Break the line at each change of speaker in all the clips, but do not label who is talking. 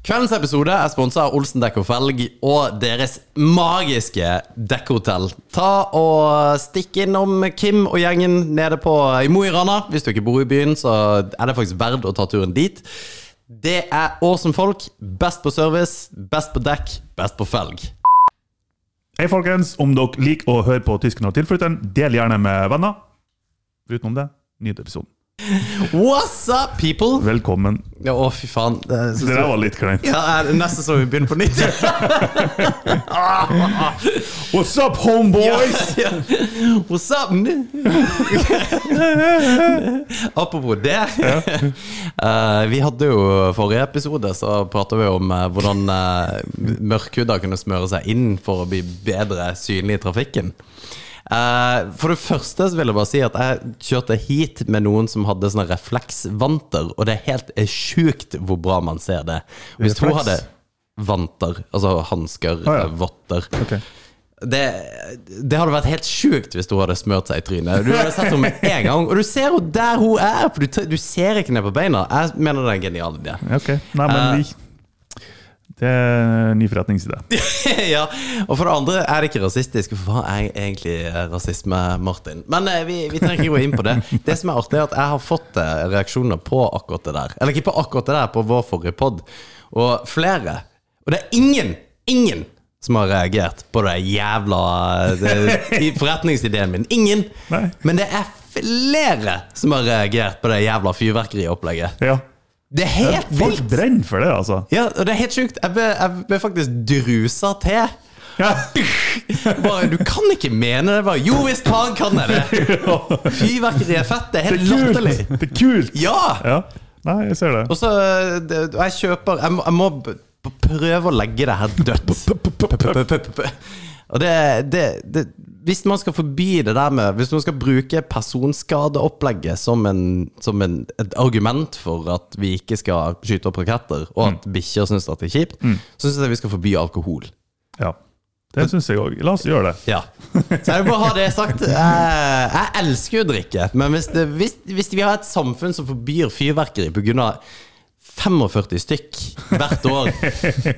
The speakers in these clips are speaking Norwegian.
Kveldens episode er sponsa av Olsen Dekk og Felg og deres magiske dekkhotell. Ta og Stikk innom Kim og gjengen nede på i Mo i Rana. Hvis du ikke bor i byen, så er det faktisk verdt å ta turen dit. Det er awesome folk. Best på service, best på dekk, best på felg.
Hei, folkens. Om dere liker å høre på Tysken og tilflytteren, del gjerne med venner. Utenom det, nyt episoden.
What's up, people?
Velkommen.
Ja, Å, fy faen. Det er så
Det der var litt kleint.
ja, er det nesten så vi begynner på nytt.
What's up, homeboys?
Ja. What's up? Apropos det. Eh, vi hadde jo forrige episode så prata vi om eh, hvordan uh, mørkhuda kunne smøre seg inn for å bli bedre synlig i trafikken. Eh, for det første så vil jeg bare si at jeg kjørte hit med noen som hadde sånne refleksvanter, og det er helt eh, sjukt hvor bra man ser det. Hvis hun
Refleks?
hadde vanter, altså hansker,
Ah, ja.
eh, votter
Ok.
det, det hadde vært helt sjukt hvis hun hadde smurt seg i trynet. Du hadde sett henne med en gang, og du ser jo der hun er! For du, t- du ser ikke ned på beina. Jeg mener det er en genial idé.
Ok. Nei,
Eh.
men vi Det er en ny forretningsidé.
ja. Og for det andre er det ikke rasistisk. For hva er egentlig eh, rasisme, Martin? Men eh, vi, vi trenger ikke gå inn på det. Det som er artig, er at jeg har fått eh, reaksjoner på akkurat det der. Eller ikke på akkurat det der, på vår forrige pod. Og flere. Og det er ingen, ingen som har reagert på det jævla det, i forretningsideen min. Ingen!
Nei.
Men det er flere som har reagert på det jævla fyrverkeriopplegget.
Ja.
Det er helt
Folk
vilt!
brenner for det, altså.
Ja, og det er helt sjukt. Jeg ble, jeg ble faktisk drusa til.
Ja.
Bare, du kan ikke mene det. Bare, jo visst faen kan jeg det! Fyrverkeri er fett. Det er helt latterlig.
Kult! Det er kult!
Ja!
Ja. Nei, jeg ser det.
Og så eh, det- Jeg kjøper Jeg må, jeg må b- b- prøve å legge det her dødt. Og det, det, det Hvis man skal forby det der med Hvis man skal bruke personskadeopplegget som, en, som en, et argument for at vi ikke skal skyte opp raketter, og at bikkjer syns at det er kjipt, så syns jeg vi skal forby alkohol.
Ja. Det syns jeg òg. La oss gjøre det.
Ja. Så jeg vil bare ha det sagt. Jeg, jeg elsker jo å drikke, men hvis, det, hvis, hvis vi har et samfunn som forbyr fyrverkeri pga. 45 stykk hvert år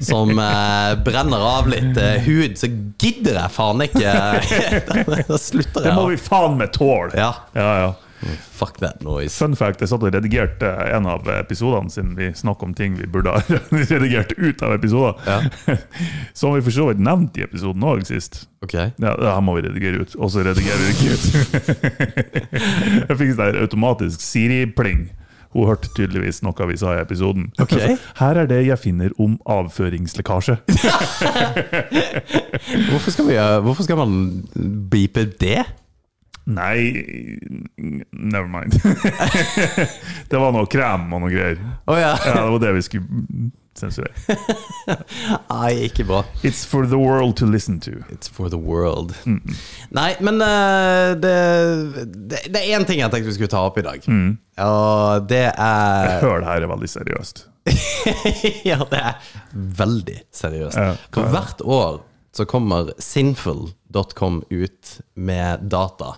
som eh, brenner av litt eh, hud, så gidder jeg faen ikke. eh, da slutter
Det må
jeg.
vi faen meg tåle!
Ja.
ja. ja.
Fuck that noise.
Fun fact, jeg satt og redigerte en av episodene siden vi snakket om ting vi burde ha redigert ut av episoder. Som vi for så vidt nevnte i episoden òg sist.
Ok.
Ja, det her må vi redigere ut. Og så redigerer vi det ikke ut. jeg fikk sånn der automatisk Siri-pling. Hun hørte tydeligvis noe vi sa i episoden.
Ok.
Her er det jeg finner om avføringslekkasje.
Hvorfor skal, vi, eh, hvorfor skal man beepe det?
Nei Never mind. det var noe krem og noe greier.
Å ja.
Ja, det var det vi skulle sensurere.
Nei, ikke bra.
It's for the world to listen to.
It's for the world. Nei, men eh, det, det, det er én ting jeg tenkte vi skulle ta opp i dag. Og det er
Hør, det her er veldig seriøst.
Ja, det er veldig seriøst.
Ja,
For hvert år så kommer sinful.com ut med data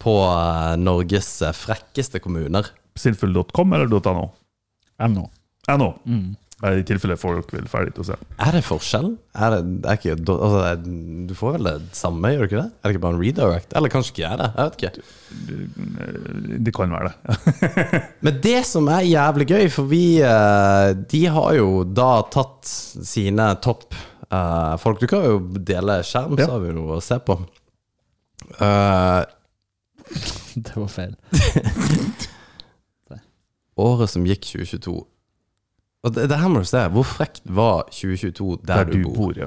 på eh, Norges frekkeste kommuner.
Sinful.com eller .no?
Ennå.
NO. Eh, I tilfelle folk vil ferdig til å se.
Er det forskjell? Er det, det er ikke, altså, det er, du får vel det samme, gjør du ikke det? Er det ikke bare en redirect? Eller kanskje ikke er det? Jeg vet ikke.
Eh, Det kan være det.
Men det som er jævlig gøy, for vi eh, De har jo da tatt sine topp eh, folk. Du kan jo dele skjerm,
Ja.
så har vi noe å se på. Eh,
Det var feil.
året som gikk 2022 Og det, det her må du se. Hvor frekt var 2022 der,
Der du bor, ja.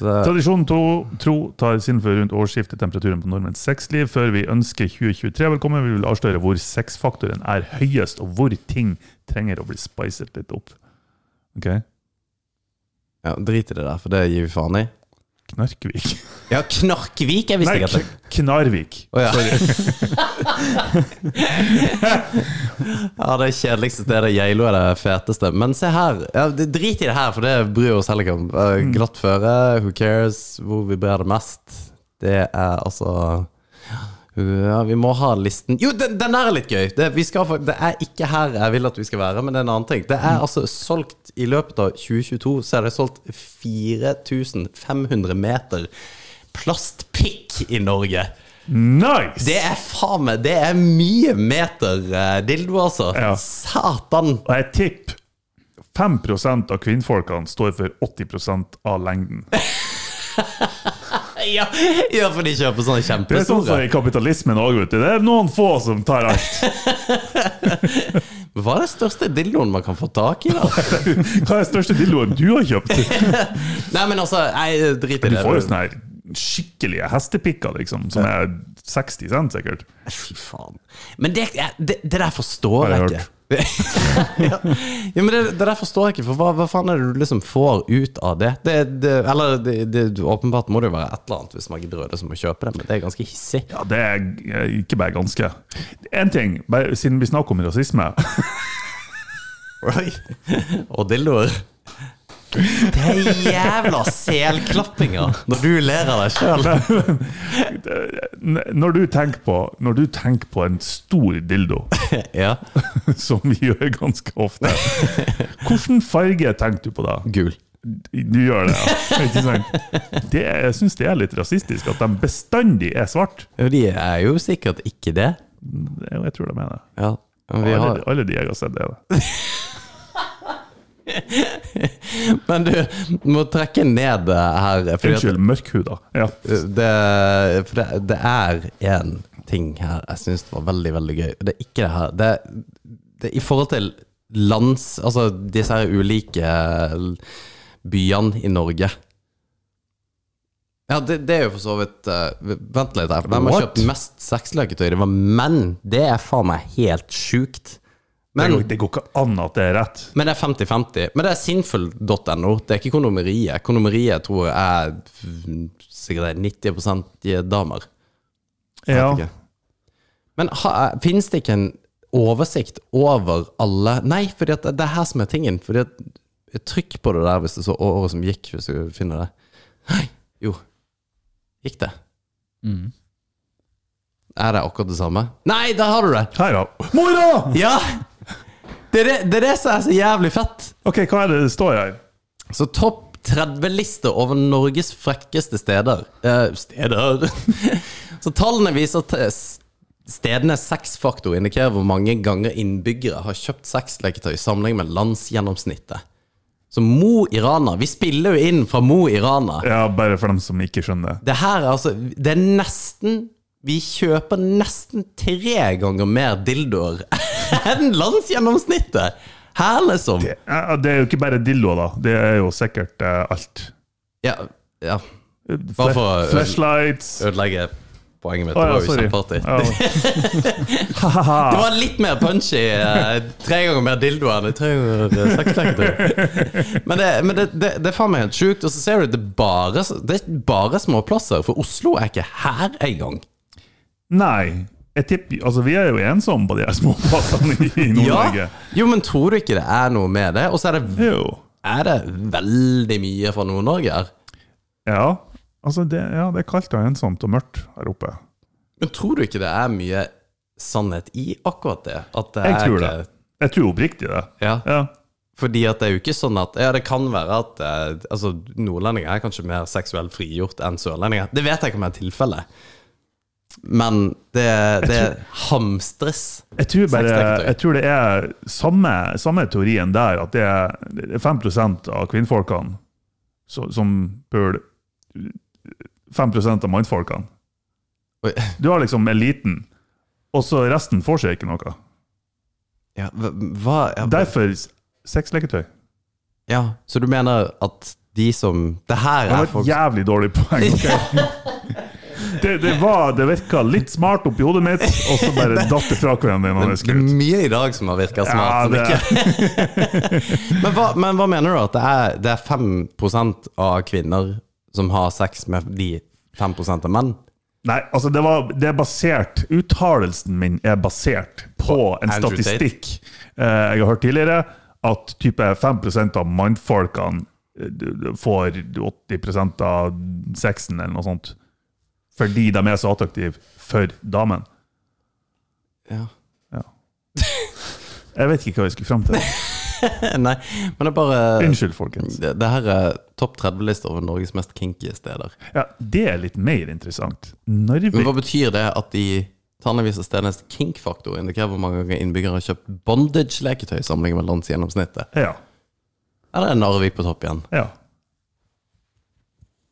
Så det,
Tradisjonen to, tro tar Sinful rundt årsskiftet temperaturen på nordmenns sexliv. Før vi ønsker 2023 velkommen, vi vil avsløre hvor sexfaktoren er høyest, og hvor ting trenger å bli spicet litt opp. Ok?
ja, drit i det der, for det gir vi faen i.
Knarkvik.
Ja, Knarkvik! Jeg visste
Nei,
ikke at det
K- Knarvik.
Å ja. ja, det er kjedeligste stedet. Geilo er det feteste. Men se her. Ja, det- drit i det her, for det bryr oss heller ikke om. Eh, Glatt føre, who cares, hvor vibrerer det mest? Det er altså Ja, vi må ha listen Jo, den, den der er litt gøy! Det, vi skal, fa- det er ikke her jeg vil at vi skal være, men det er en annen ting. Det er altså solgt I løpet av 2022 så er det solgt 4500 meter plastpikk i Norge.
Nice!
Det er faen meg Det er mye meter eh, dildo, altså.
Ja.
Satan!
Og jeg tipper 5 av kvinnfolkene står for 80 av lengden.
Ja, ja for de kjøper sånne
Det er sånn som
kjempestore.
i kapitalismen òg, vet du. Det er noen få som tar alt.
Hva er den største dildoen man kan få tak i, da?
Hva er den største dildoen du har kjøpt?
Nei, men altså, jeg driter i
Du
det.
får jo sånne her skikkelige hestepikker, liksom, som er 60 cent, sikkert.
Fy faen. Men det, det, det der forstår
Har
jeg
jeg
ikke. ja. ja, men det, det der forstår jeg ikke, for hva, hva faen er det du liksom får ut av det? det, det eller det, det, åpenbart må det jo være et eller annet hvis man gidder å det som å kjøpe det, men det er ganske hissig.
Ja, det er eh, ikke bare ganske. Én ting, bare, siden vi snakker om rasisme.
Og dildoer. Det er jævla selklappinger når du ler av deg sjøl.
N- Når du tenker på, når du tenker på en stor dildo,
Ja.
som vi gjør ganske ofte, hvilken farge tenker du på da?
Gul.
Du gjør det, ja. Ikke sant? Det, jeg syns det er litt rasistisk at de bestandig er svart.
Jo, De er jo sikkert ikke det.
Det er jo- Jeg tror de er det.
Ja. Men, vi
Alle,
har,
alle de jeg har sett, er det.
men du må trekke ned eh, her. fordi at-
Unnskyld, mørkhuda. Ja.
det, for det, det er én ting her jeg syns var veldig, veldig gøy. Det er ikke det her. Det, det, I forhold til lands Altså disse her ulike byene i Norge. Ja, det, det er jo for så vidt eh, Vent litt her. Hvem har
What?
kjøpt mest sexleketøy? Det var menn. Det er faen meg helt sjukt.
Det
Men
går, det går ikke an at det er rett.
men det er 50-50. Men det er sinnfull.no. Det er ikke kondomeriet. Kondomeriet tror jeg er mm, sikkert det er 90 damer. Jeg vet
Ja.
ikke. Men ha, finnes det ikke en oversikt over alle Nei, for det det er her som er tingen. Fordi at Trykk på det der hvis det så året som gikk, hvis du finner det. Nei, jo. Gikk det?
Mm.
Er det akkurat det samme? Nei, der har du det!
Her, ja. Mora!
Ja! Det er det, det, er det som er så jævlig fett.
OK, hva er det det står her?
Så topp 30-liste over Norges frekkeste steder eh, Steder! Så tallene viser at s- stedenes sexfaktor indikerer hvor mange ganger innbyggere har kjøpt sexleketøy i sammenligning med landsgjennomsnittet. Så Mo i Rana Vi spiller jo inn fra Mo i Rana.
Ja, Bare for dem som ikke skjønner.
Det her er altså Det er nesten Vi kjøper nesten tre ganger mer dildoer enn landsgjennomsnittet! Her, liksom.
Ja, Det er jo ikke bare dildo, da. Det er jo sikkert eh, alt.
Ja, ja. Bare
Fle
for eh, å-
Flashlights
ødelegge poenget mitt.
Å,
det
ja,
var jo
sorry.
kjempeartig.
Ja. Ha-ha.
Det var litt mer punchy. eh, Tre ganger mer dildo enn i tre ganger eh, sexleketøy. Men, det, men det, det, det er faen meg helt sjukt. Og så ser du det er bare, det er bare småplasser, for Oslo er ikke her engang.
Nei. Jeg tipper, altså Vi er jo ensomme på de her små plassene i i Nord-Norge.
Ja. Jo, men tror du ikke det er noe med det? Og så er det,
Jo.
er det veldig mye fra Nord-Norge her.
Ja. Altså, det, ja, det er kaldt og ensomt og mørkt her oppe.
Men tror du ikke det er mye sannhet i akkurat det? At det
Jeg
er
tror det.
ikke,
Jeg tror oppriktig det.
Ja.
Ja.
Fordi at det er jo ikke sånn at Ja, det kan være at eh, altså, nordlendinger er kanskje mer seksuelt frigjort enn sørlendinger. Det vet jeg ikke om er tilfellet. Men det, det hamstres.
Jeg tror, bare,
Sexleketøy.
jeg tror det er samme, samme teorien der, at det er- det er 5 av kvinnfolkene så, som bør 5 av mannfolkene.
Oi.
Du har liksom eliten, og så resten får seg ikke noe.
Ja, hva- hva ja,
Derfor s- sexleketøy.
ja, Så du mener at de som Det her
Det
er
var et
folk
jævlig dårlig poeng. ok? Det, det, var, det virka litt smart oppi hodet mitt, og så bare datt det fra hverandre. når jeg
Det er
skulle ut.
mye i dag som har virka
Ja,
smart. som
det
ikke- men, hva, men hva mener du? At det er, det er 5 av kvinner som har sex med de 5 av menn?
Nei, altså det, var, det er basert Uttalelsen min er basert på en
Andrew Tate?
statistikk eh, jeg har hørt tidligere, at type 5 av mannfolkene eh, du- du får 80 av sexen, eller noe sånt. fordi de er så attraktive for damen.
Ja.
Jeg vet ikke hva jeg skulle fram til.
Nei, men det er bare
Unnskyld, folkens.
det, det her er topp 30-lista over Norges mest kinky steder.
Ja, det er litt mer interessant.
Men hva
Narvik
betyr det at de Tannevis av stedenes kink-faktor indikerer hvor mange ganger innbyggere har kjøpt bondage-leketøy sammenlignet med landsgjennomsnittet?
Ja.
Eller er Narvik på topp igjen?
ja.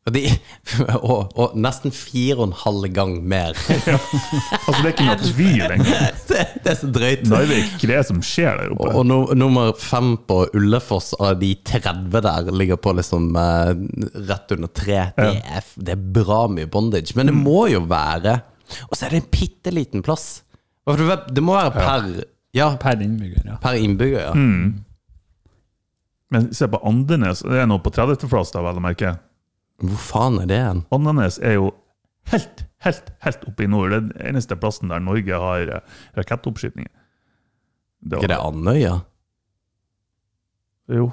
Og, de, og, og nesten fire og en halv gang mer.
Altså, det er ikke noe tvil engang.
Det, det er så drøyt.
Narvik, hva er det som skjer der
Og,
oppe?
og no, nummer fem på Ullefors av de 30 der ligger på liksom eh, rett under tre. Det er, f- det er bra mye bondage, men det må jo være Og så er det en bitte liten plass. Og for Det det må være per, ja,
Per innbygger, ja.
per innbygger, ja.
Men se på Andenes, det er noe på 30.-plass, da, vel å merke.
Hvor faen er det hen?
Andenes er jo helt, helt, helt oppe i nord. Det er den eneste plassen der Norge har eh, rakettoppskytninger. Det
Er ikke det Andøya?
Jo.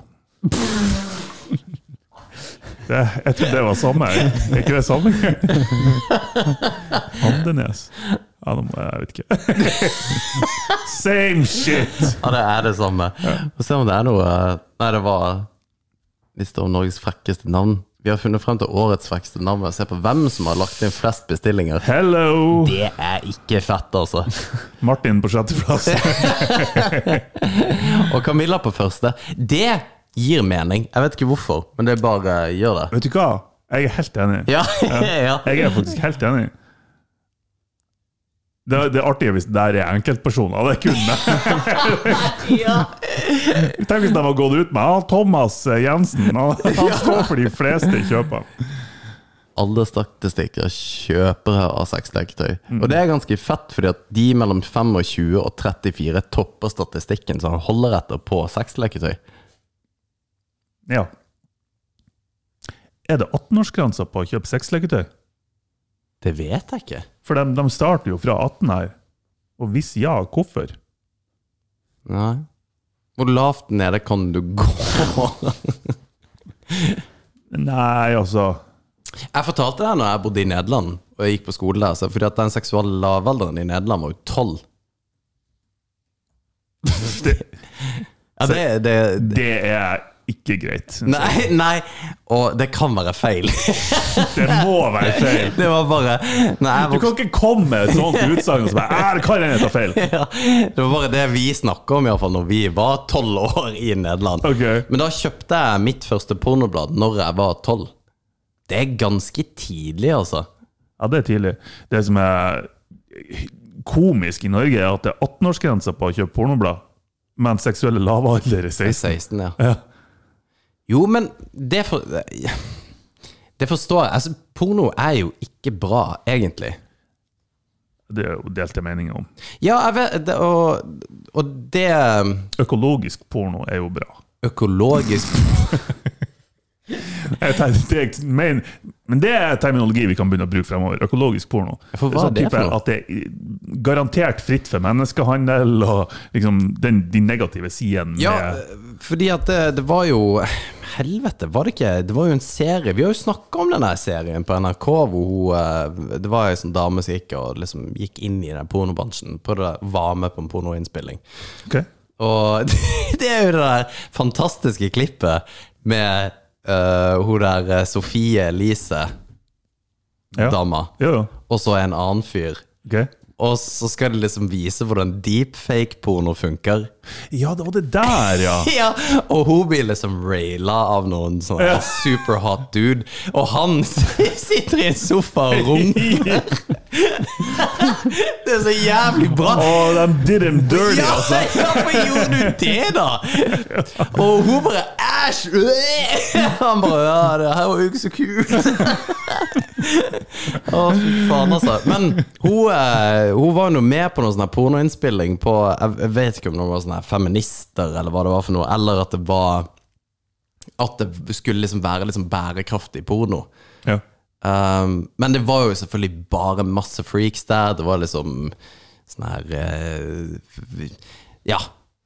Det, jeg trodde det var samme. Er ikke det samme? Andenes. Ja, nå må jeg, jeg vet ikke. Same shit!
Ja, det er det samme. Og se om det er noe eh, Nei, det var lista over Norges frekkeste navn. Vi har funnet frem til årets frekkeste navn ved å se på hvem som har lagt inn flest bestillinger.
Hello!
Det er ikke fett, altså.
Martin på sjetteplass.
Og Camilla på første. Det gir mening. Jeg vet ikke hvorfor, men det er bare gjør det.
Vet du hva? Jeg er helt enig.
Ja, ja.
Jeg er faktisk helt enig. Det, det er artig hvis det der er enkeltpersoner. Det er kun meg.
ja.
Tenk hvis de har gått ut med ah, Thomas Jensen. Han, han står for de fleste kjøpene.
Alle statistikker er kjøpere av sexleketøy. Og det er ganske fett, fordi at de mellom 25 og 34 topper statistikken som holder etter på sexleketøy.
Ja. Er det 18-årsgrensa på å kjøpe sexleketøy?
Det vet jeg ikke.
For de, de starter jo fra 18 her. Og hvis ja, hvorfor?
Nei. Hvor lavt nede kan du gå?
Nei, altså
Jeg fortalte det når jeg bodde i Nederland og jeg gikk på skole der, så- fordi at den seksuelle lavalderen i Nederland var jo tolv. Ja, det, det
Det er ikke greit. synes jeg.
Nei, nei. Og det kan være feil.
Det må være feil.
Det var bare Nei, jeg
Du kan ikke komme med et sånt utsagn som bare «Ah, Det kan hende jeg tar feil.
Ja, det var bare det vi snakka om, iallfall når vi var tolv år i Nederland.
Ok.
Men da kjøpte jeg mitt første pornoblad når jeg var tolv. Det er ganske tidlig, altså.
Ja, det er tidlig. Det som er komisk i Norge, er at det er 18-årsgrense på å kjøpe pornoblad, men seksuelle lavalder er
Jeg er
16.
16, ja.
Ja.
Jo, men det for, Det forstår jeg. Altså, porno er jo ikke bra, egentlig.
Det er jo delte meninger om.
Ja, jeg vet det, og, og det um,
Økologisk porno er jo bra.
Økologisk
Jeg tenkte- det er- men, men det er terminologi vi kan begynne å bruke fremover. Økologisk porno. sånn
For hva er det
type
for noe?
At det er garantert fritt for menneskehandel og liksom den, de negative sidene
Ja, eh,
med
fordi at det, det var jo Helvete, var det ikke Det var jo en serie Vi har jo snakka om den der serien på NRK hvor hun eh, Det var ei sånn dame som gikk og liksom gikk inn i den pornobransjen. På det der, var med på en pornoinnspilling.
Ok.
Og det er jo det der fantastiske klippet med eh, hun der eh, Sofie Elise-dama,
Ja. Jo, jo.
og så en annen fyr.
Ok.
Og så skal de liksom vise hvordan deepfake-porno funker.
ja, det var det der, ja!
Ja, og hun blir liksom raila av noen sånn
Ja.
superhot dude, og han sitter i en sofa og runker. Det er så jævlig bra.
Oh, de did him dirty,
Ja,
altså!
hvorfor gjorde du det, da? Og hun bare æsj! øh!» Han bare ja, det her var jo ikke så kult. Å, fy faen, altså. Men hun, eh, hun var nå med på noen sånn her pornoinnspilling på Jeg jeg vet ikke om det var sånne her feminister, eller hva det var for noe, eller at det var At det skulle liksom være liksom bærekraftig porno.
Ja.
Um, men det var jo selvfølgelig bare masse freaks der. Det var liksom sånn her eh, Ja,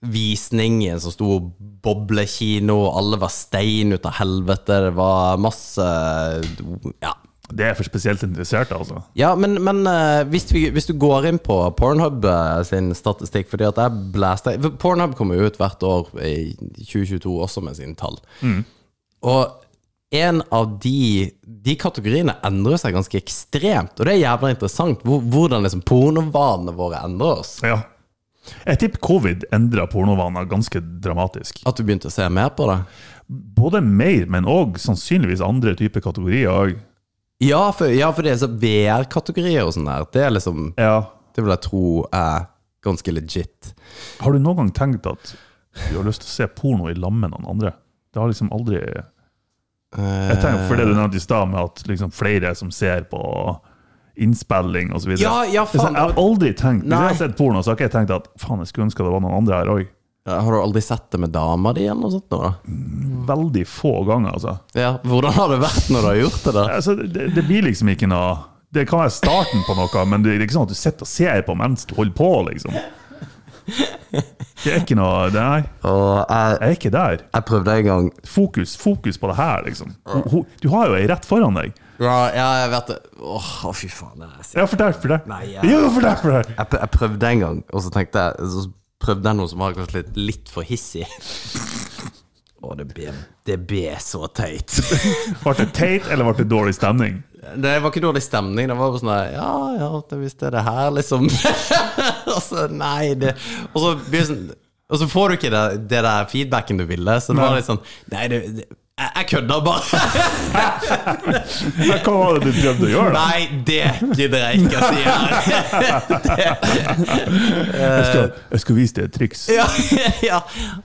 visning i en sånn stor boblekino, og alle var stein ut av helvete. Det var masse Ja.
Det er for spesielt interesserte, altså.
Ja, men, men eh, hvis, vi, hvis du går inn på Pornhub eh, sin statistikk Fordi at jeg blæste for Pornhub kommer jo ut hvert år i 2022 også med sine tall. Og en av de, de kategoriene endrer seg ganske ekstremt. Og det er jævla interessant hvor- hvordan liksom pornovanene våre endrer oss.
Ja. Jeg tipper covid endra pornovaner ganske dramatisk.
At du begynte å se mer på det.
Både mer, men òg sannsynligvis andre typer kategorier. og-
Ja, for, ja, for det er så VR-kategorier og sånn der. Det er liksom Det vil jeg tro er ganske legit.
Har du noen gang tenkt at du har lyst til å se porno i lag med noen andre? Det har liksom aldri Jeg tenker for det du nevnte i stad, med at liksom flere som ser på innspilling osv.
Ja, ja, faen.
sånn, jeg har aldri tenkt Hvis jeg
Nei.
har sett porno, så har ikke jeg tenkt at faen, jeg skulle ønske det var noen andre her òg.
Har du aldri sett det med dama di, eller noe sånt? nå da?
Veldig få ganger, altså.
Ja, Hvordan har det vært når du har gjort det? da?
Altså, det, det blir liksom ikke noe Det kan være starten på noe, men det, det er ikke sånn at du sitter og ser på mens du holder på, liksom. Det er ikke noe det er-
Og jeg,
Jeg er ikke der.
jeg prøvde en gang
Fokus fokus på det her, liksom. Ho- ho- Du har jo ei rett foran deg.
Ja, ja jeg vet det. Åh, å, fy faen. det er så-
Jeg har fortalt for deg.
Nei, ja.
jeg har fortalt for deg.
Jeg, pr- jeg prøvde en gang, og så tenkte jeg Så prøvde jeg noe som var kanskje litt, litt for hissig. Å, det ble, det ble så teit.
Ble det teit, eller ble det dårlig stemning?
Det var ikke dårlig stemning. Det var bare sånn der, Ja, ja, det, hvis det er det her, liksom. og så nei, det Og så, blir det sånn, og så får du ikke det, det der feedbacken du ville. Så det var
Nei.
litt sånn Nei, det, det, jeg, jeg kødda bare.
Men Hva var det du prøvde å gjøre? da?
nei, det gidder jeg ikke å si her.
Jeg skal, jeg skal vise deg et triks.
ja, ja.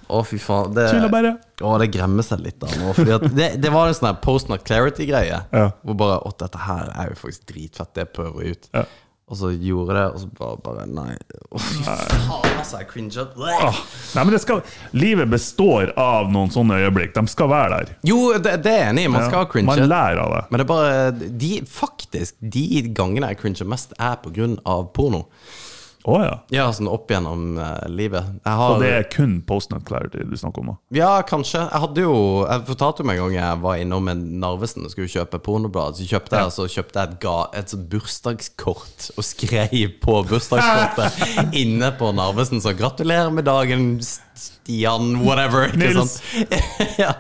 Å, fy faen. Det,
Tulla bare.
å, det gremmer seg litt da nå. Fordi at det, det var en sånn her post not clarity-greie.
Ja.
Hvor bare Å, dette her er jo faktisk dritfett. Det prøver vi ut.
Ja.
Og så gjorde jeg det, og så bare, bare Nei. Å, fy faen, altså. Jeg cringet. Bleh.
Ah, Nei, men det skal, livet består av noen sånne øyeblikk. De skal være der.
Jo, det, det er jeg enig i. Man skal ha
Man
cringe.
lærer av det.
Men det er bare de, Faktisk, de gangene jeg cringer mest, er på grunn av porno.
Å ja.
Ja, sånn opp gjennom eh, livet. Jeg har,
Og det er kun post-nut clarity du snakker om? da.
Ja, kanskje. Jeg hadde jo Jeg fortalte om en gang jeg var innom en Narvesen og skulle kjøpe pornoblad. Så kjøpte jeg, så kjøpte jeg et, ga, et sånt bursdagskort og skrev på bursdagskortet inne på Narvesen. Så 'Gratulerer med dagen, Stian whatever'. Ikke
Nils.
sant? ja.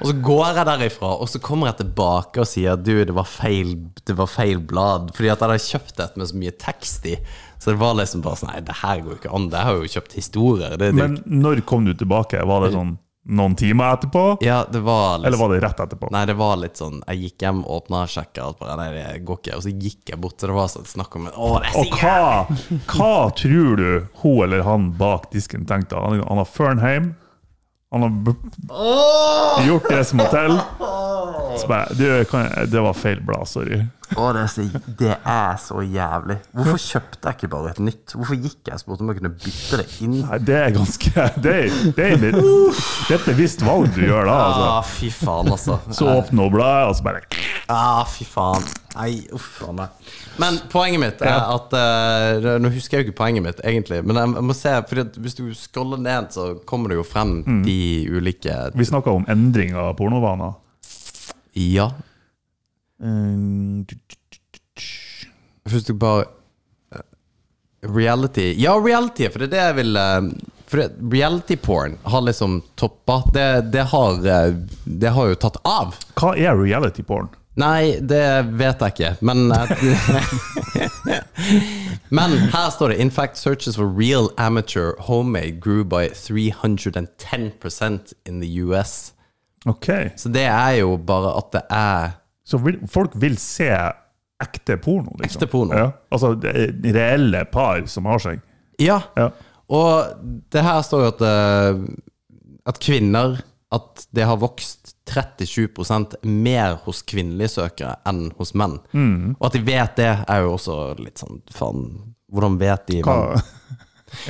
Og så går jeg derifra, og så kommer jeg tilbake og sier 'du, det var feil, det var feil blad'. Fordi at jeg hadde kjøpt et med så mye tekst i. Så det var liksom bare sånn Nei, det her går jo ikke an. Jeg har jo kjøpt historier. Det, det,
Men når kom du tilbake? Var det sånn noen timer etterpå?
ja, det var liksom
Eller var det rett etterpå?
Nei, det var litt sånn Jeg gikk hjem, åpna, sjekka alt bare Nei, det går ikke. Og så gikk jeg bort, så det var sånn snakk om Å, det er så
Og hva, hva tror du hun eller han bak disken tenkte? Han, han har Fernheim. Han har b- gjort det som hotell. Så bare, du, kan jeg, det var feil blad, sorry.
Å, det, er så, det er så jævlig. Hvorfor kjøpte jeg ikke bare et nytt? Hvorfor gikk jeg og spurte om jeg kunne bytte det inn?
Nei, det er ganske Det er, det er, litt, det er et bevisst valg du gjør da. Altså.
Ah, fy faen, altså.
Så åpner hun bladet, og så bare
Ah, fy faen. Nei, uff a meg. Men poenget mitt er at eh, Nå husker jeg jo ikke poenget mitt, egentlig. Men jeg, jeg må se, fordi at hvis du scroller ned, så kommer det jo frem de ulike
Vi snakka om endring av pornovaner.
Ja.
Ehm,
Først du bare eh, Reality Ja, reality, for det er det jeg vil eh, For det, reality porn har liksom toppa det, det, har, eh, det har jo tatt av.
Hva er reality porn?
Nei, det vet jeg ikke, men eh, Men her står det In fact, searches for real amateur homemade grew by 310% in the US.
Ok
Så det er jo bare at det er
Så vil, folk vil se ekte porno? Liksom.
Ekte porno.
Ja. Altså det er reelle par som har seg.
Ja.
Ja.
Og det her står jo at, eh, at kvinner At det har vokst 37 mer hos kvinnelige søkere enn hos menn. Og at de vet det, er jo også litt sånn faen Hvordan vet de men-
Hva,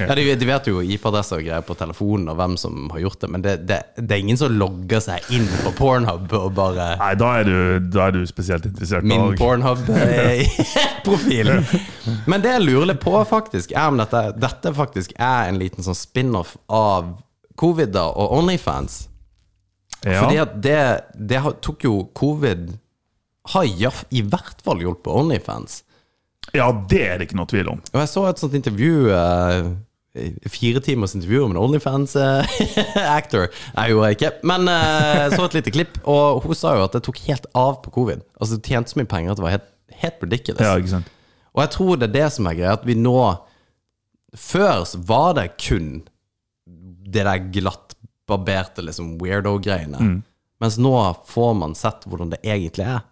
Ja, de, de vet jo IP-adresser og greier på telefonen og hvem som har gjort det, men det, det, det er ingen som logger seg inn på Pornhub og bare
nei, da er, du, da er du spesielt interessert.
Min
og-
Pornhub-profil. Men det jeg lurer litt på, faktisk, er om dette, dette faktisk er en liten sånn spin-off av covid da, og Onlyfans.
ja.
Fordi at det, det har- tok jo covid har jaff- i hvert fall hjulpet Onlyfans.
Ja, det er det ikke noe tvil om.
Og jeg så et sånt intervju eh, Fire timers intervju om en Onlyfans-actor. Nei, gjorde jeg ikke. Men eh, jeg så et lite klipp, og hun sa jo at det tok helt av på covid. Altså, det tjente så mye penger at det var helt, helt ridiculous.
Ja, ikke sant?
Og jeg tror det er det som er greia, at vi nå Før så var det kun det der glattbarberte, liksom weirdo-greiene.
Mm.
Mens nå får man sett hvordan det egentlig er.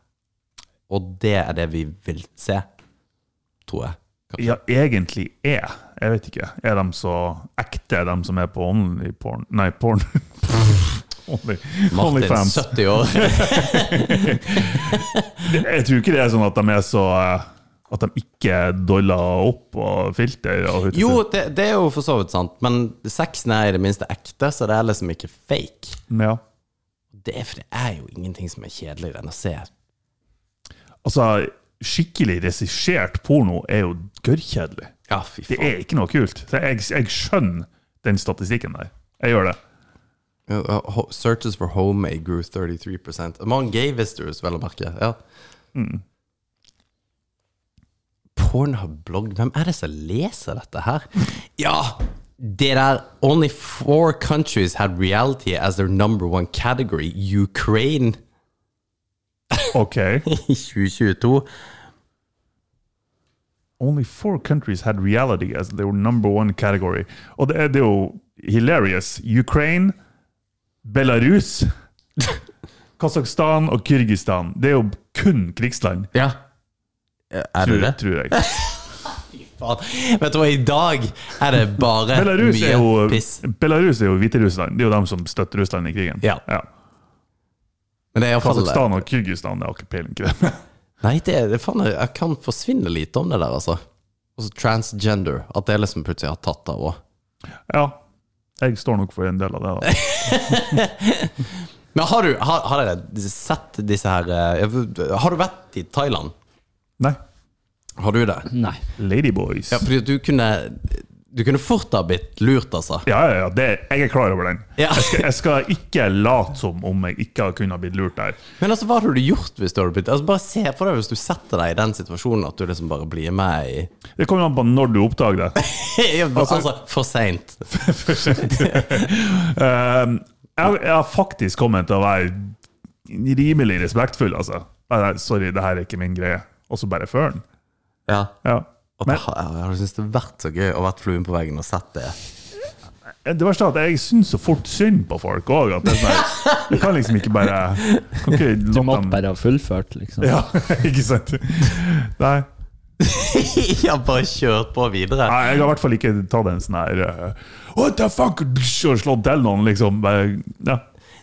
Og det er det vi vil se, tror jeg.
Ja, egentlig er Jeg vet ikke. Er de så ekte, de som er på only porn Nei, porn. only,
Martin,
Onlyfans.
70 år.
Jeg tror ikke det er sånn at de er så eh, At de ikke doller opp og filter og hut-
Jo, det, det er jo for så vidt sant, men sexen er i det minste ekte, så det er liksom ikke fake.
Ja.
Det er, for det er jo ingenting som er kjedeligere enn å se
Altså, skikkelig regissert porno er jo gørrkjedelig.
Ja, fy
Det
faen.
er ikke noe kult. Så jeg, jeg skjønner den statistikken der. Jeg gjør det.
Uh, ho- Searches for homemade grew 33 Among gay visitors, vel å merke. Ja. Pornhub-blogg Hvem er det som leser dette her? Ja! Det der Only four countries had reality as their number one category. Ukraine
OK.
i 2022.
Only four countries had reality as their number one category. Og det er, det er jo hilarious. Ukraine, Belarus, Kasakhstan og Kyrgyzstan. Det er jo kun krigsland,
Ja. Er
tror,
det det?
tror jeg.
Faen. Vet du hva, i dag er det bare
Belarus
mye
er jo,
piss.
Belarus er jo Hviterussland. Det er jo dem som støtter Russland i krigen.
Ja. Men det er i hvert fall-
Kasakhstan og Kyrgyzstan det har ikke peiling på det.
Nei, det, det faen, jeg- jeg kan forsvinne lite om det der, altså. Og så transgender, at det liksom plutselig har tatt av òg.
Ja. Jeg står nok for en del av det. da.
Men har du har, har dere sett disse her eh, Har du vært i Thailand?
Nei.
Har du det?
Nei.
Ladyboys.
Ja, fordi at du kunne Du kunne fort ha blitt lurt, altså.
Ja, ja, ja. Det, jeg er klar over den.
Ja.
Jeg, skal, jeg skal ikke late som om jeg ikke har kunnet ha blitt lurt der.
Men altså, hva hadde du gjort hvis du hadde blitt Altså, Bare se for deg hvis du setter deg i den situasjonen at du liksom bare blir med i
Det kommer an på når du oppdager det.
Altså, for seint.
Um, jeg, jeg har faktisk kommet til å være rimelig respektfull, altså. Nei, nei, sorry, det her er ikke min greie. Og så bare før den.
Ja.
Ja.
Og det,
Men
har- jeg har syntes det har vært så gøy å vært fluen på veggen og sett det.
det verste er at jeg syns så fort synd på folk òg. sånn Jeg kan liksom ikke bare kan ikke
Du
la
måtte
dem-
bare ha fullført, liksom.
Ja, ikke sant? Nei.
Jeg har bare kjørt på videre.
Nei, jeg har i hvert fall ikke tatt en sånn her eh, What the fuck? Og slått til noen, liksom. Bare, ja.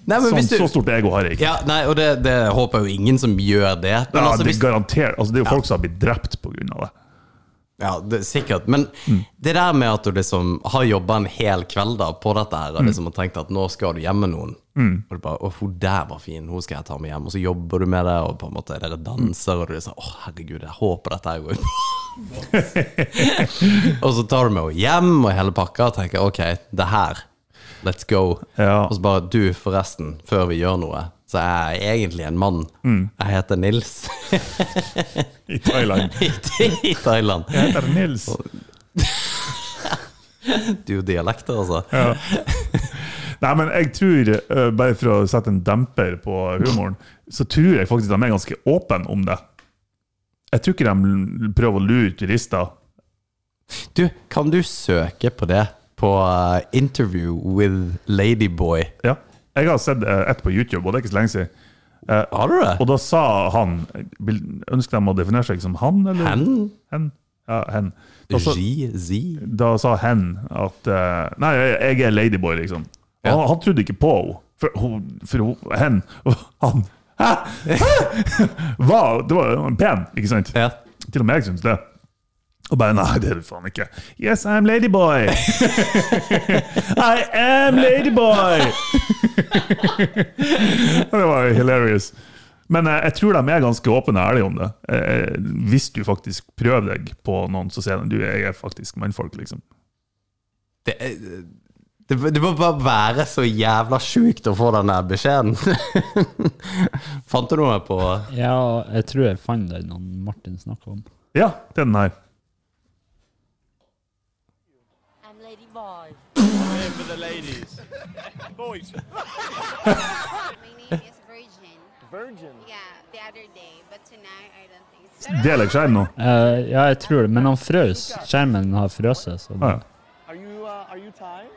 Nei, men
sånn,
hvis du-
Så stort ego har jeg ikke.
Ja, nei, og det, det håper jeg jo ingen som gjør det. Men
Ja,
altså,
det,
hvis,
er garantert, altså, det er jo folk som har blitt drept pga. det.
ja det, sikkert. Men
Mm.
det der med at du liksom har jobba en hel kveld da på dette her,
Mm.
og liksom har tenkt at nå skal du hjem med noen, og du bare 'Å, hun der var fin, hun skal jeg ta med hjem', og så jobber du med det, og på en måte dere danser, og du er sånn 'Å, herregud, jeg håper dette her går ut'. og så tar du med henne hjem og hele pakka og tenker 'OK, det her, let's go'.
Ja.
Og så bare 'Du, forresten, før vi gjør noe, så er jeg egentlig en mann.
Mm.
Jeg heter Nils'.
I Thailand.
I Thailand.
Jeg heter Nils.
Du er jo dialekter, altså.
Nei, men jeg tror, eh, bare for å sette en demper på humoren, så tror jeg faktisk de er ganske åpne om det. Jeg tror ikke de l- prøver å lure turister.
Du, kan du søke på det på eh, 'Interview with Ladyboy'?
Ja. Jeg har sett eh, ett på YouTube, og det er ikke så lenge siden. Eh,
Har du det?
Og da sa han vil, Ønsker de å definere seg som han, eller?
Hen?
Hen. Ja, hen. Da, sa-
Ji? Zi?
da sa hen at eh, Nei, jeg, jeg er ladyboy, liksom. Og
Ja.
Han, han trodde ikke på henne. For, hun- for hun- hen og han Hæ?! Hæ? Hva? Det var jo pen, ikke sant?
Ja.
Til og med jeg syns det. Og bare Nei, det er du faen ikke. Yes, I'm ladyboy! I am ladyboy! det var jo hilarious. Men eh, jeg tror de er ganske åpne og ærlige om det. Eh, hvis du faktisk prøver deg på noen, så sier de du, jeg er faktisk mannfolk. liksom.
Det, er- Det, det må bare være så jævla sjukt å få den der beskjeden. Fant du noe på
Ja, jeg tror jeg fant den han Martin snakka om.
Ja, det er den her.
I'm Lady Boy.
in for the ladies. Boys.
My name is Virgin.
Virgin.
Yeah, the other day, but tonight I don't think so.
Deler jeg skjerm nå?
Eh, ja, jeg tror det, men han frøs. Skjermen har frøset. Så
Ja.
Are you uh, are you Thai?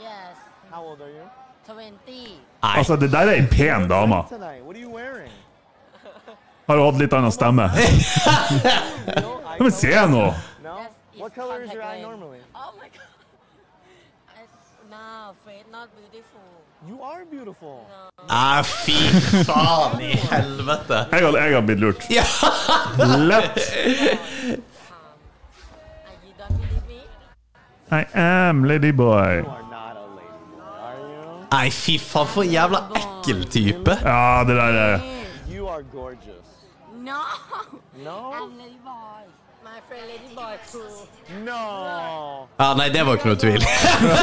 Yes,
How old are you?
20.
Nei.
Altså, det der er ei pen dame.
Tonight. What are you wearing?
Har jo hatt litt annen stemme.
No eye
Ja, men se
color?
nå!
No.
Yes, it's
What color is your
contact
eye
lens.
normally?
Oh my god. I- No, Fred, not beautiful.
You are beautiful.
Nei, fy faen i helvete!
Jeg har, jeg har blitt lurt. Lett.
And you don't believe me?
I am ladyboy.
You are not a lady, boy, are
Nei, fy faen, for en jævla ekkel type!
Ja, det der er
you? You are gorgeous.
No.
No.
I'm Lady Boy. My friend Lady Boy cool.
No.
Ja, Nei, det var ikke noe tvil.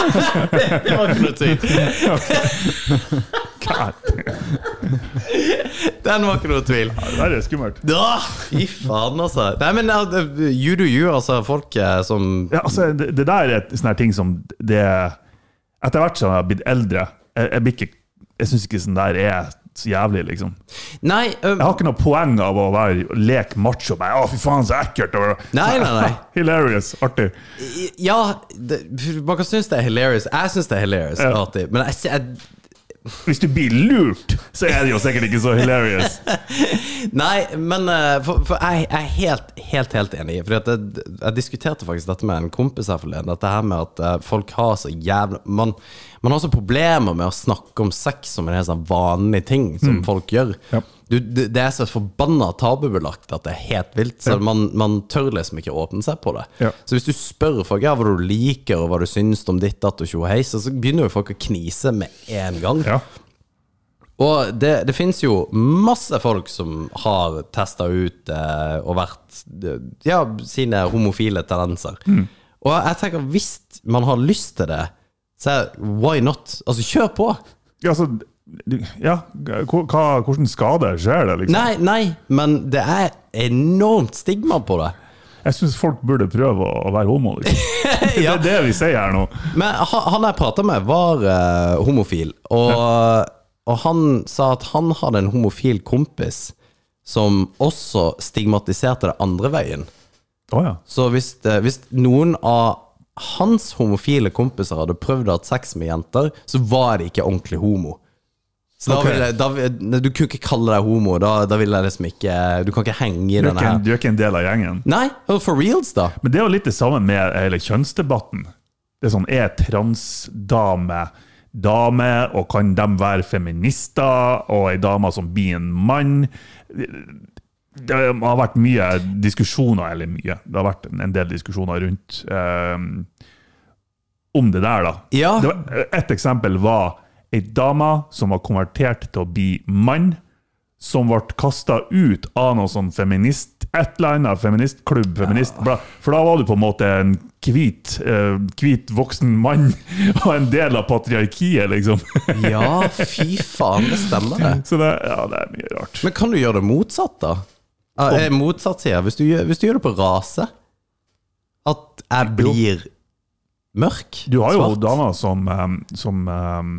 det var ikke noe tvil.
God,
Den var ikke noe tvil.
Det der er skummelt.
Ja, fy faen, altså. Nei, men ja, det- you do you, altså. Folk eh, som
Ja, altså, det, det der er et sånn her ting som det Etter hvert som jeg har blitt eldre, jeg, jeg, blir ikke- jeg syns ikke sånn der er så jævlig, liksom.
Nei, um,
Jeg har ikke noe poeng av å være leke macho. Bare, å, fy faen, så ekkelt! og-
Nei, nei, nei.
Hilarious. Artig.
ja det, Man kan synes det er hilarious. Jeg synes det er hilarious.
Ja.
Alltid. Men jeg, jeg,
Hvis du blir lurt, så er det jo sikkert ikke så hilarious.
Nei, men eh, for, for jeg, jeg er helt, helt, helt enig. Fordi at jeg, jeg diskuterte faktisk dette med en kompis her forleden. Dette her med at eh, folk har så jævla man, man har så problemer med å snakke om sex som en helt sånn vanlig ting som folk gjør.
Mm. Ja.
Du, det, det er så forbanna tabubelagt at det er helt vilt. Så man, man tør liksom ikke åpne seg på det.
Ja.
Så hvis du spør folk ja, hva du liker, og hva du syns om ditt, datt og tjo og hei, så så begynner jo folk å knise med en gang.
Ja.
Og det, det finnes jo masse folk som har testa ut eh, og vært eh, Ja, sine homofile tendenser. Og jeg tenker, hvis man har lyst til det, så er- why not? Altså, kjør på!
Ja, altså du- ja, hva, hva- hvordan skade skjer det, liksom?
Nei, nei, men det er enormt stigma på det.
Jeg syns folk burde prøve å være homo. Liksom.
Ja.
Det er det vi sier her nå.
Men ha- han jeg prata med, var eh, homofil, og, og han sa at han hadde en homofil kompis som også stigmatiserte det andre veien.
Å ja.
Så hvis, det, hvis noen av hans homofile kompiser hadde prøvd å ha sex med jenter, så var de ikke ordentlig homo. Så da
Ok.
ville, da, vil- nei, du kunne ikke kalle deg homo. Da, da ville jeg liksom ikke Du kan ikke henge i
Du er,
denne
ikke en,
her.
du er ikke en del av gjengen.
Nei, og for reals, da.
Men det er jo litt det samme med hele kjønnsdebatten. Det er sånn, Er transdame dame, og kan de være feminister, og ei dame som blir en mann? Det har vært mye diskusjoner, eller mye, det har vært en del diskusjoner rundt eh, om det der, da.
Ja.
Det var, eh, et eksempel var ei dame som var konvertert til å bli mann, som ble kasta ut av noe sånn feminist et eller annet feministklubb, feministblad. For da var du på en måte en hvit, eh, hvit voksen mann og en del av patriarkiet, liksom.
Ja, fy faen, det stemmer, det.
Så det, ja, det er mye rart.
Men kan du gjøre det motsatt, da? Ja, eh, Motsatt, sier jeg. Hvis du, gjør- hvis du gjør det på rase At jeg blir mørk?
Du har jo
svart.
damer som, eh, som eh,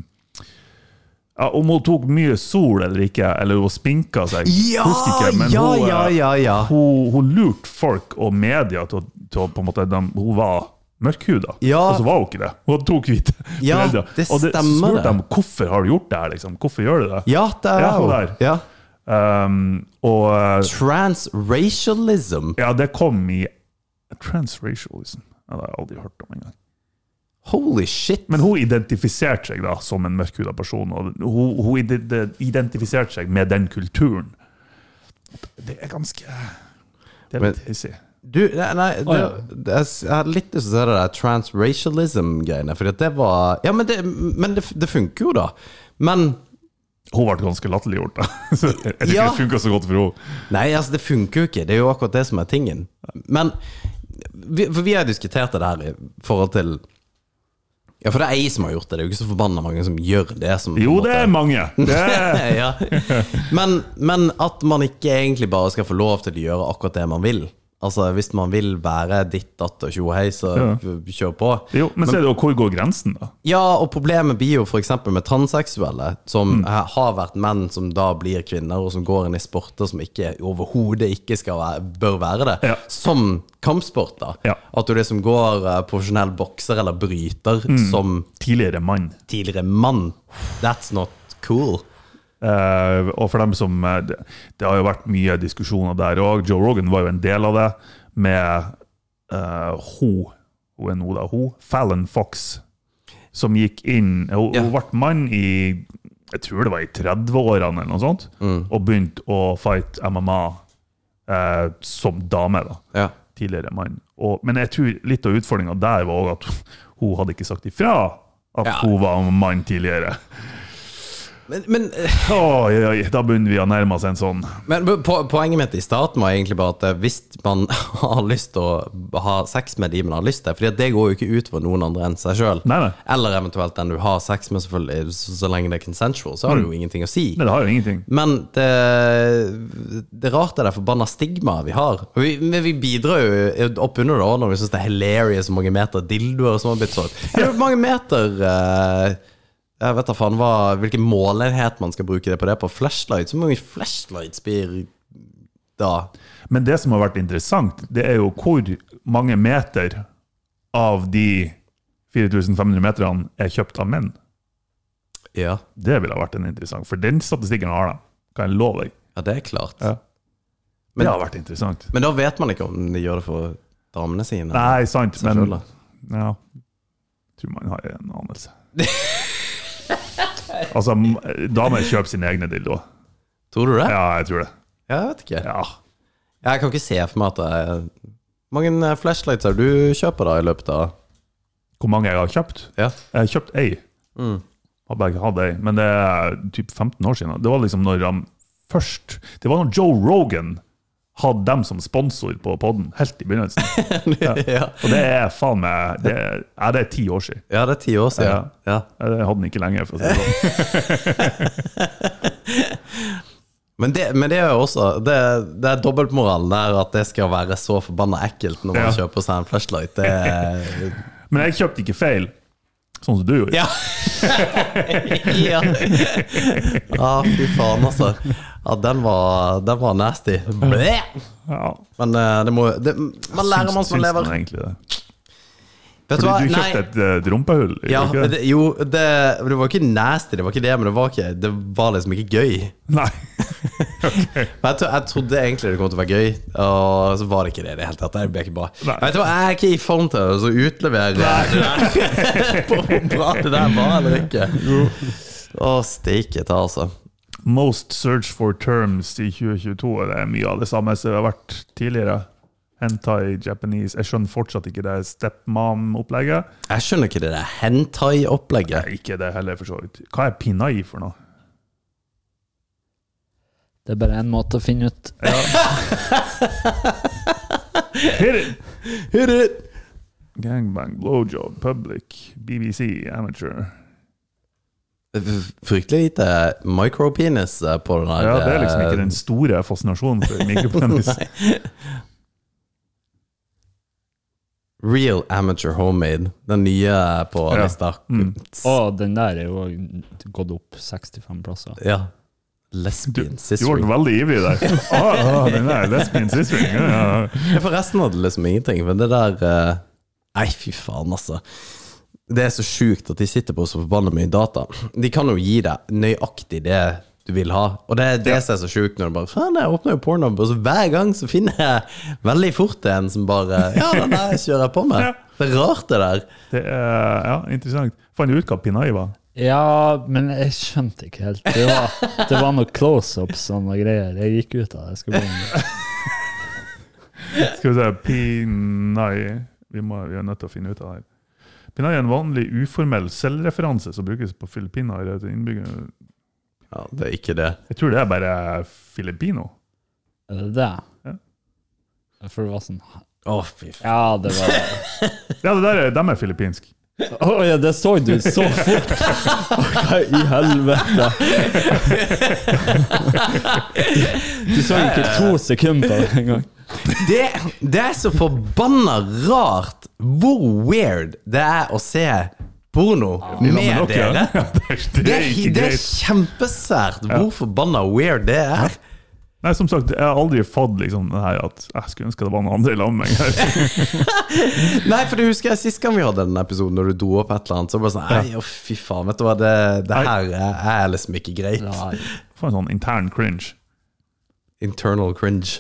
ja, Om hun tok mye sol eller ikke, eller hun spinka seg
Ja,
husker ikke, men
ja,
hun, eh,
ja, ja, ja.
Hun, hun lurte folk og media til, å- til å på en måte de, Hun var mørkhuda,
Ja.
og så var hun ikke det. Hun hadde to hvite
Ja,
foreldre.
det
og det, så
stemmer
spurte
det.
dem hvorfor har du gjort det her, liksom. Hvorfor gjør du det?
Ja, der
Ja,
er hun.
der.
Ja.
Um, og eh,
Transracialism.
ja, det kom i Transracialism. Ja, det har jeg aldri hørt om engang.
Holy shit.
Men hun identifiserte seg da som en mørkhuda person, og hun, hun ide- identifiserte seg med den kulturen. Det er ganske Det er
Men-
litt hissig.
du, nei, nei det,
Å,
det, jeg s- jeg hadde litt lyst til å se det der transracialism-greiene, Fordi at det var Ja, men det, men det, det funker jo, da. Men
Hun ble ganske latterliggjort, da. Så jeg tror
Ja.
ikke det funka så godt for henne.
Nei, altså, det funker jo ikke. Det er jo akkurat det som er tingen. Men vi, For vi har diskutert det her i forhold til Ja, for det er ei som har gjort det. Det er jo ikke så forbanna mange som gjør det. Som,
Jo,
på
det er
en måte-
mange! Det er,
ja. men, men at man ikke egentlig bare skal få lov til å gjøre akkurat det man vil. Altså, Hvis man vil være ditt, datt og tjo og hei, så kjør på.
jo, men så er det jo hvor går grensen, da?
Ja, og problemet blir jo f.eks. med transseksuelle, som
Mm.
eh, har vært menn som da blir kvinner, og som går inn i sporter som ikke, overhodet ikke skal være, bør være det.
Ja.
Som kampsport, da.
Ja.
At du liksom går eh, profesjonell bokser eller bryter
Mm.
som
Tidligere mann.
tidligere mann. That's not cool.
Eh, og for dem som eh, det, det har jo vært mye diskusjoner der òg. Joe Rogan var jo en del av det, med eh, hun Hun er nå da hun, Fallon Fox, som gikk inn Hun,
Ja.
hun ble mann i jeg tror det var i 30-årene eller noe sånt,
Mm.
og begynte å fight MMA eh, som dame. da
Ja.
tidligere mann. Og, men jeg tror litt av utfordringa der var også at hun hadde ikke sagt ifra at
Ja.
hun var mann tidligere.
Men, men, eh,
Oi, oi, da begynner vi å nærme oss en sånn.
men po poenget mitt i starten var egentlig bare at eh, hvis man har lyst til å ha sex med de man har lyst til, Fordi at det går jo ikke ut for noen andre enn seg sjøl.
Nei, nei.
Eller eventuelt den du har sex med, selvfølgelig. Så, så lenge det er consensual, så har det jo ingenting å si.
Nei, Mm. det har jo ingenting.
Men det, det er rart det der forbanna stigmaet vi har. Og Vi, men vi bidrar jo opp under det også når vi syns det er hilarious hvor mange meter dildoer som har blitt solgt. Er det Hvor mange meter eh, Jeg vet da faen hva, hvilken målenhet man skal bruke det på det på. Flashlights? Hvor mange flashlights blir da
Men det som har vært interessant, det er jo hvor mange meter av de 4500 meterne er kjøpt av menn.
Ja,
Det ville ha vært en interessant, for den statistikken har de. Kan jeg love deg.
ja det er klart.
Ja.
Men-
det har vært interessant.
Men da vet man ikke om de gjør det for damene sine.
Nei, sant,
Seg
men
selv, da.
Ja. Tror man har en anelse. altså, m- damer kjøper sine egne dildoer.
Tror du det?
Ja, jeg tror det.
Ja, jeg vet ikke.
Ja.
Jeg kan ikke se for meg at det er Hvor mange eh, flashlights har du kjøper da i løpet av
Hvor mange jeg har kjøpt?
Ja.
Jeg har kjøpt ei.
Mm.
Har bare ikke hatt ei. Men det er typ 15 år siden. Det var liksom når han først Det var når Joe Rogan hadde dem som sponsor på poden, helt i begynnelsen.
ja.
Og det er faen meg Det er, ja, det er ti år siden.
ja, det er ti år siden. Ja.
Jeg hadde den ikke lenge. for å si det sånn.
Men, det, men det er jo også Det, det er dobbeltmoralen der at det skal være så forbanna ekkelt når man
Ja.
kjøper seg en flashlight. Det er,
Men jeg kjøpte ikke feil, sånn som du gjorde.
ja. ja. Ah, fy faen, altså. Ja, den var, den var nasty. Blæ!
Ja.
Men eh, det må det, Man lærer mens
Syns-
man
syns
lever.
man egentlig det?
Vet
Fordi du
Nei.
kjøpte et eh, rumpehull? gjorde
Ja,
du ikke
men
det?
det, jo, det, det var ikke nasty, det var ikke det, men det var, ikke, det var liksom ikke gøy.
Nei.
Men jeg, tro, jeg trodde egentlig det kom til å være gøy, og så var det ikke det i det hele tatt. Det ble ikke bra.
Nei.
Vet du hva, jeg er ikke i form til å så utlevere det der på hvor bra det der var eller ikke. Å, steike ta, altså.
Most search for terms i 2022, og det er mye av det samme som det har vært tidligere. Hentai, Japanese Jeg skjønner fortsatt ikke det stepmom-opplegget.
Jeg skjønner ikke det der hentai-opplegget.
Nei, Ikke det heller, for så vidt. Hva er pinai for noe?
Det er bare én måte å finne ut
Hit it!
Hit it!
Gangbang, blowjob, public, BBC, amateur.
Fryktelig lite micropenis eh, på den der.
Ja, det er liksom
eh,
ikke den store fascinasjonen for mikropenis.
Real amateur homemade. Den nye på
Ja.
lista.
Mm.
Å, den der er jo gått opp 65 plasser.
Ja.
Du,
Lesbian
du
sister.
ble veldig ivrig der. Ah, ah, den der lesbian sistering. Ja, ja, ja.
Ja, For resten hadde liksom ingenting, men det der eh, Nei, fy faen, altså. Det er så sjukt at de sitter på så forbanna mye data. De kan jo gi deg nøyaktig det du vil ha, og det er det som er så sjukt når du bare Faen, jeg åpner jo pornoen, og så hver gang så finner jeg veldig fort en som bare Ja, den der kjører jeg på med.
Ja.
Det er rart, det der.
Det er ja, interessant. Fant du ut hva Pinai var?
Ja, men jeg skjønte ikke helt. Det var, det var noe close-ups og noe greier. Jeg gikk ut av det. Jeg skulle gå inn.
Skal vi se Pinai Vi, må, vi er nødt til å finne ut av det her. Pinai er en vanlig uformell selvreferanse som brukes på Filippiner. eller til innbyggere.
Ja, det er ikke det.
Jeg tror det er bare filippino.
Er det det?
Ja.
For det var sånn
Å, fy faen.
Ja, det var
Ja, det der er, de er filippinsk.
Å ja, det så du så fort! Hva i helvete? Du så ikke to sekunder på det engang.
Det, det er så forbanna rart hvor weird det er å se porno med dere.
Ja, det, er, det
Det
er
er,
ikke
det er
greit.
kjempesært hvor forbanna weird det er.
Nei, som sagt, jeg har aldri fått liksom den her at jeg skulle ønske det var noen andre i lag med meg. her.
Nei, for det husker jeg sist gang vi hadde den episoden, når du dro opp et eller annet. Så bare sånn, Nei, å, fy faen, vet du hva, det, det
Nei.
her er- er liksom ikke greit.
Få en sånn intern cringe.
Internal cringe.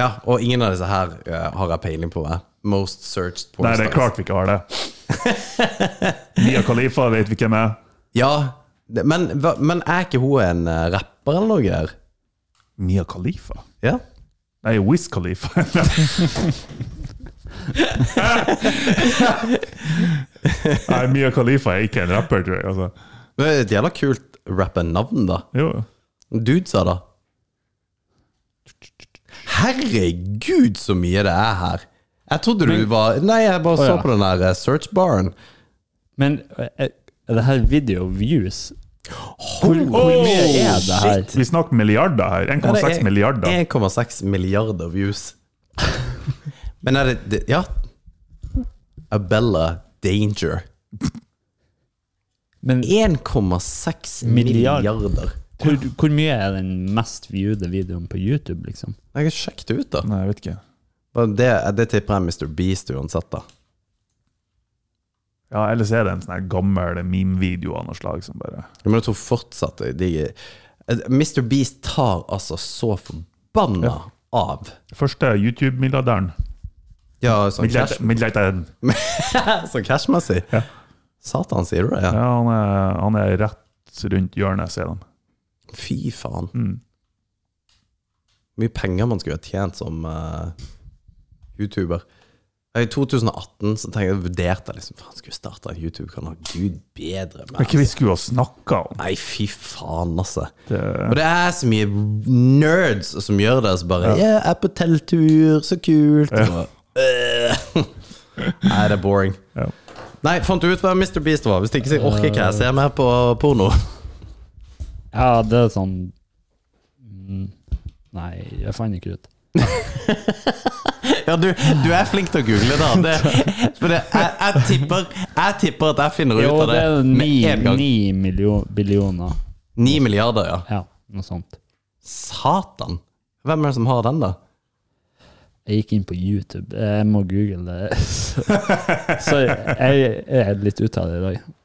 Ja, og ingen av disse her eh, har jeg peiling på. Jeg. Most searched
Nei, det er
pornstars.
klart vi ikke har det. Mia Khalifa vet vi hvem er.
Ja, det, men, hva- men er ikke hun en eh, rapper eller noe? her?
Mia Khalifa?
Ja.
Nei, Wiz Khalifa. Nei, Mia Khalifa er ikke en rapper, tror jeg. Altså.
Men det er Et jævla kult rappernavn, da.
Jo.
Dude sa da. Herregud, så mye det er her! Jeg trodde du var Nei, jeg bare
Å,
så
ja.
på den der eh, search-baren.
Men er er det her video views? Hvor, hvor
Holy
mye er det her?
shit.
Vi snakker milliarder her. 1,6 milliarder.
1,6 milliarder views. Men er det, det Ja. Abella Danger.
Men
1,6
Milliard.
milliarder.
hvor, hvor mye er den mest viewede videoen på YouTube, liksom?
Jeg har sjekket det ut, da.
Nei, jeg vet ikke.
Men Det, det tipper jeg Mr. Beast uansett, da.
Ja, Ellers er det en sånn her gammel meme-video av noe slag som bare
Men jeg tror fortsatt de Mr. Beast tar altså så forbanna av.
Første YouTube-milliardæren.
Ja, sånn
Milliard-
cash-
Milliardæren.
sånn cashmessig. Satan, sier du det? Ja.
Ja, han er, han er rett rundt hjørnet, ser de.
Fy faen.
Mm.
mye penger man skulle ha tjent som eh, YouTuber. I 2018 så tenkte jeg, vurderte jeg liksom Faen, skulle jeg starte en YouTube-kanal? Gud bedre meg.
Men hva vi skulle ha snakka om?
Nei, fy faen, altså.
Det-
Og det er så mye nerds som gjør det. Så bare Ja, jeg er på telttur, så kult. Og, øh. Nei, det er boring.
Ja.
Nei, fant du ut hva Mr. Beast var? Hvis ikke så orker ikke jeg se mer på porno.
Ja, det er sånn Mm, Nei, jeg fant ikke ut.
Ja, du, du er flink til å google, da. Det, for det, jeg, jeg, tipper, jeg tipper at jeg finner
Jo,
ut av
det
det,
er
med en gang.
ni million- billioner.
Ni milliarder, ja.
Ja, noe sånt.
Satan! Hvem er det som har den, da?
Jeg gikk inn på YouTube. Jeg må google det. Så så jeg er litt ute av det i dag.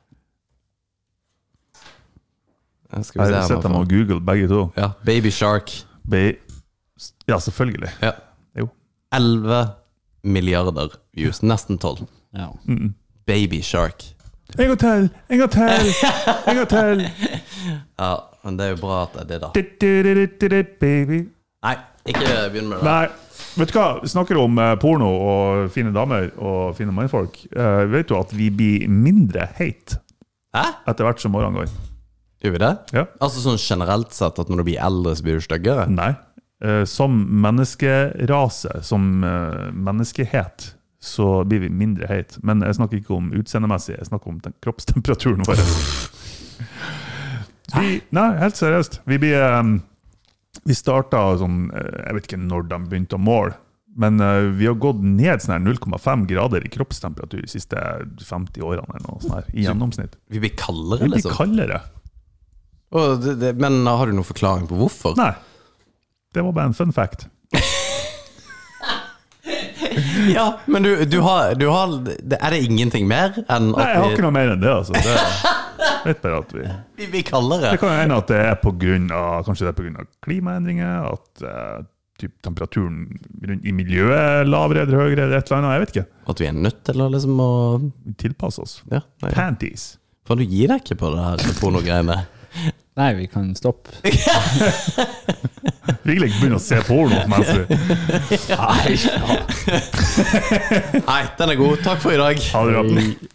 Skal vi
Jeg
se
har
her,
sett dem
man
og
får-
Google begge to.
ja, Baby Shark.
Be ja, selvfølgelig.
Ja.
Jo.
11 milliarder views. Nesten 12.
Ja.
Baby Shark.
En gang til! En gang til! En gang til!
Ja, men det er jo bra at det er det, da.
Du, du, du, du, du, du, Baby.
Nei, ikke begynn med det.
Nei, vet du hva? Vi snakker om eh, porno og fine damer og fine mannfolk. Eh, vet du at vi blir mindre heit
Hæ?
etter hvert som årene går?
Gjør vi det?
Ja.
Altså sånn generelt sett at når du blir eldre, så blir du styggere?
Nei. Eh, som menneskerase, som eh, menneskehet, så blir vi mindre heit. Men jeg snakker ikke om utseendemessig, jeg snakker om den kroppstemperaturen vår. Vi, nei, helt seriøst. Vi blir eh, Vi starta sånn eh, Jeg vet ikke når de begynte å måle. Men eh, vi har gått ned sånn her 0,5 grader i kroppstemperatur de siste 50 årene. eller noe sånt her, I gjennomsnitt.
Vi blir kaldere,
Vi blir
liksom?
kaldere.
Å, det, det, men har du noen forklaring på hvorfor?
Nei. Det var bare en fun fact.
Ja, men du, du, har, du har det- Er det ingenting mer enn
Nei, jeg har
at
ikke
vi,
noe mer enn det, altså. Det, vet bare at vi...
vi blir kaldere?
Det kan jo hende at det er på grunn av, kanskje det er på grunn av klimaendringer, at eh, typ, temperaturen rundt i miljøet er lavere eller høyere, eller et eller annet, jeg vet ikke.
At vi er nødt til å liksom å
Vi tilpasser oss.
Ja. nei.
Panties.
Faen, du gir deg ikke på det her pornogreiene.
Nei, vi kan stoppe.
Vi vil ikke begynne å se porno mens vi
Nei, ja.
Nei, den er god. Takk for i dag.
har det. bra.
Hei.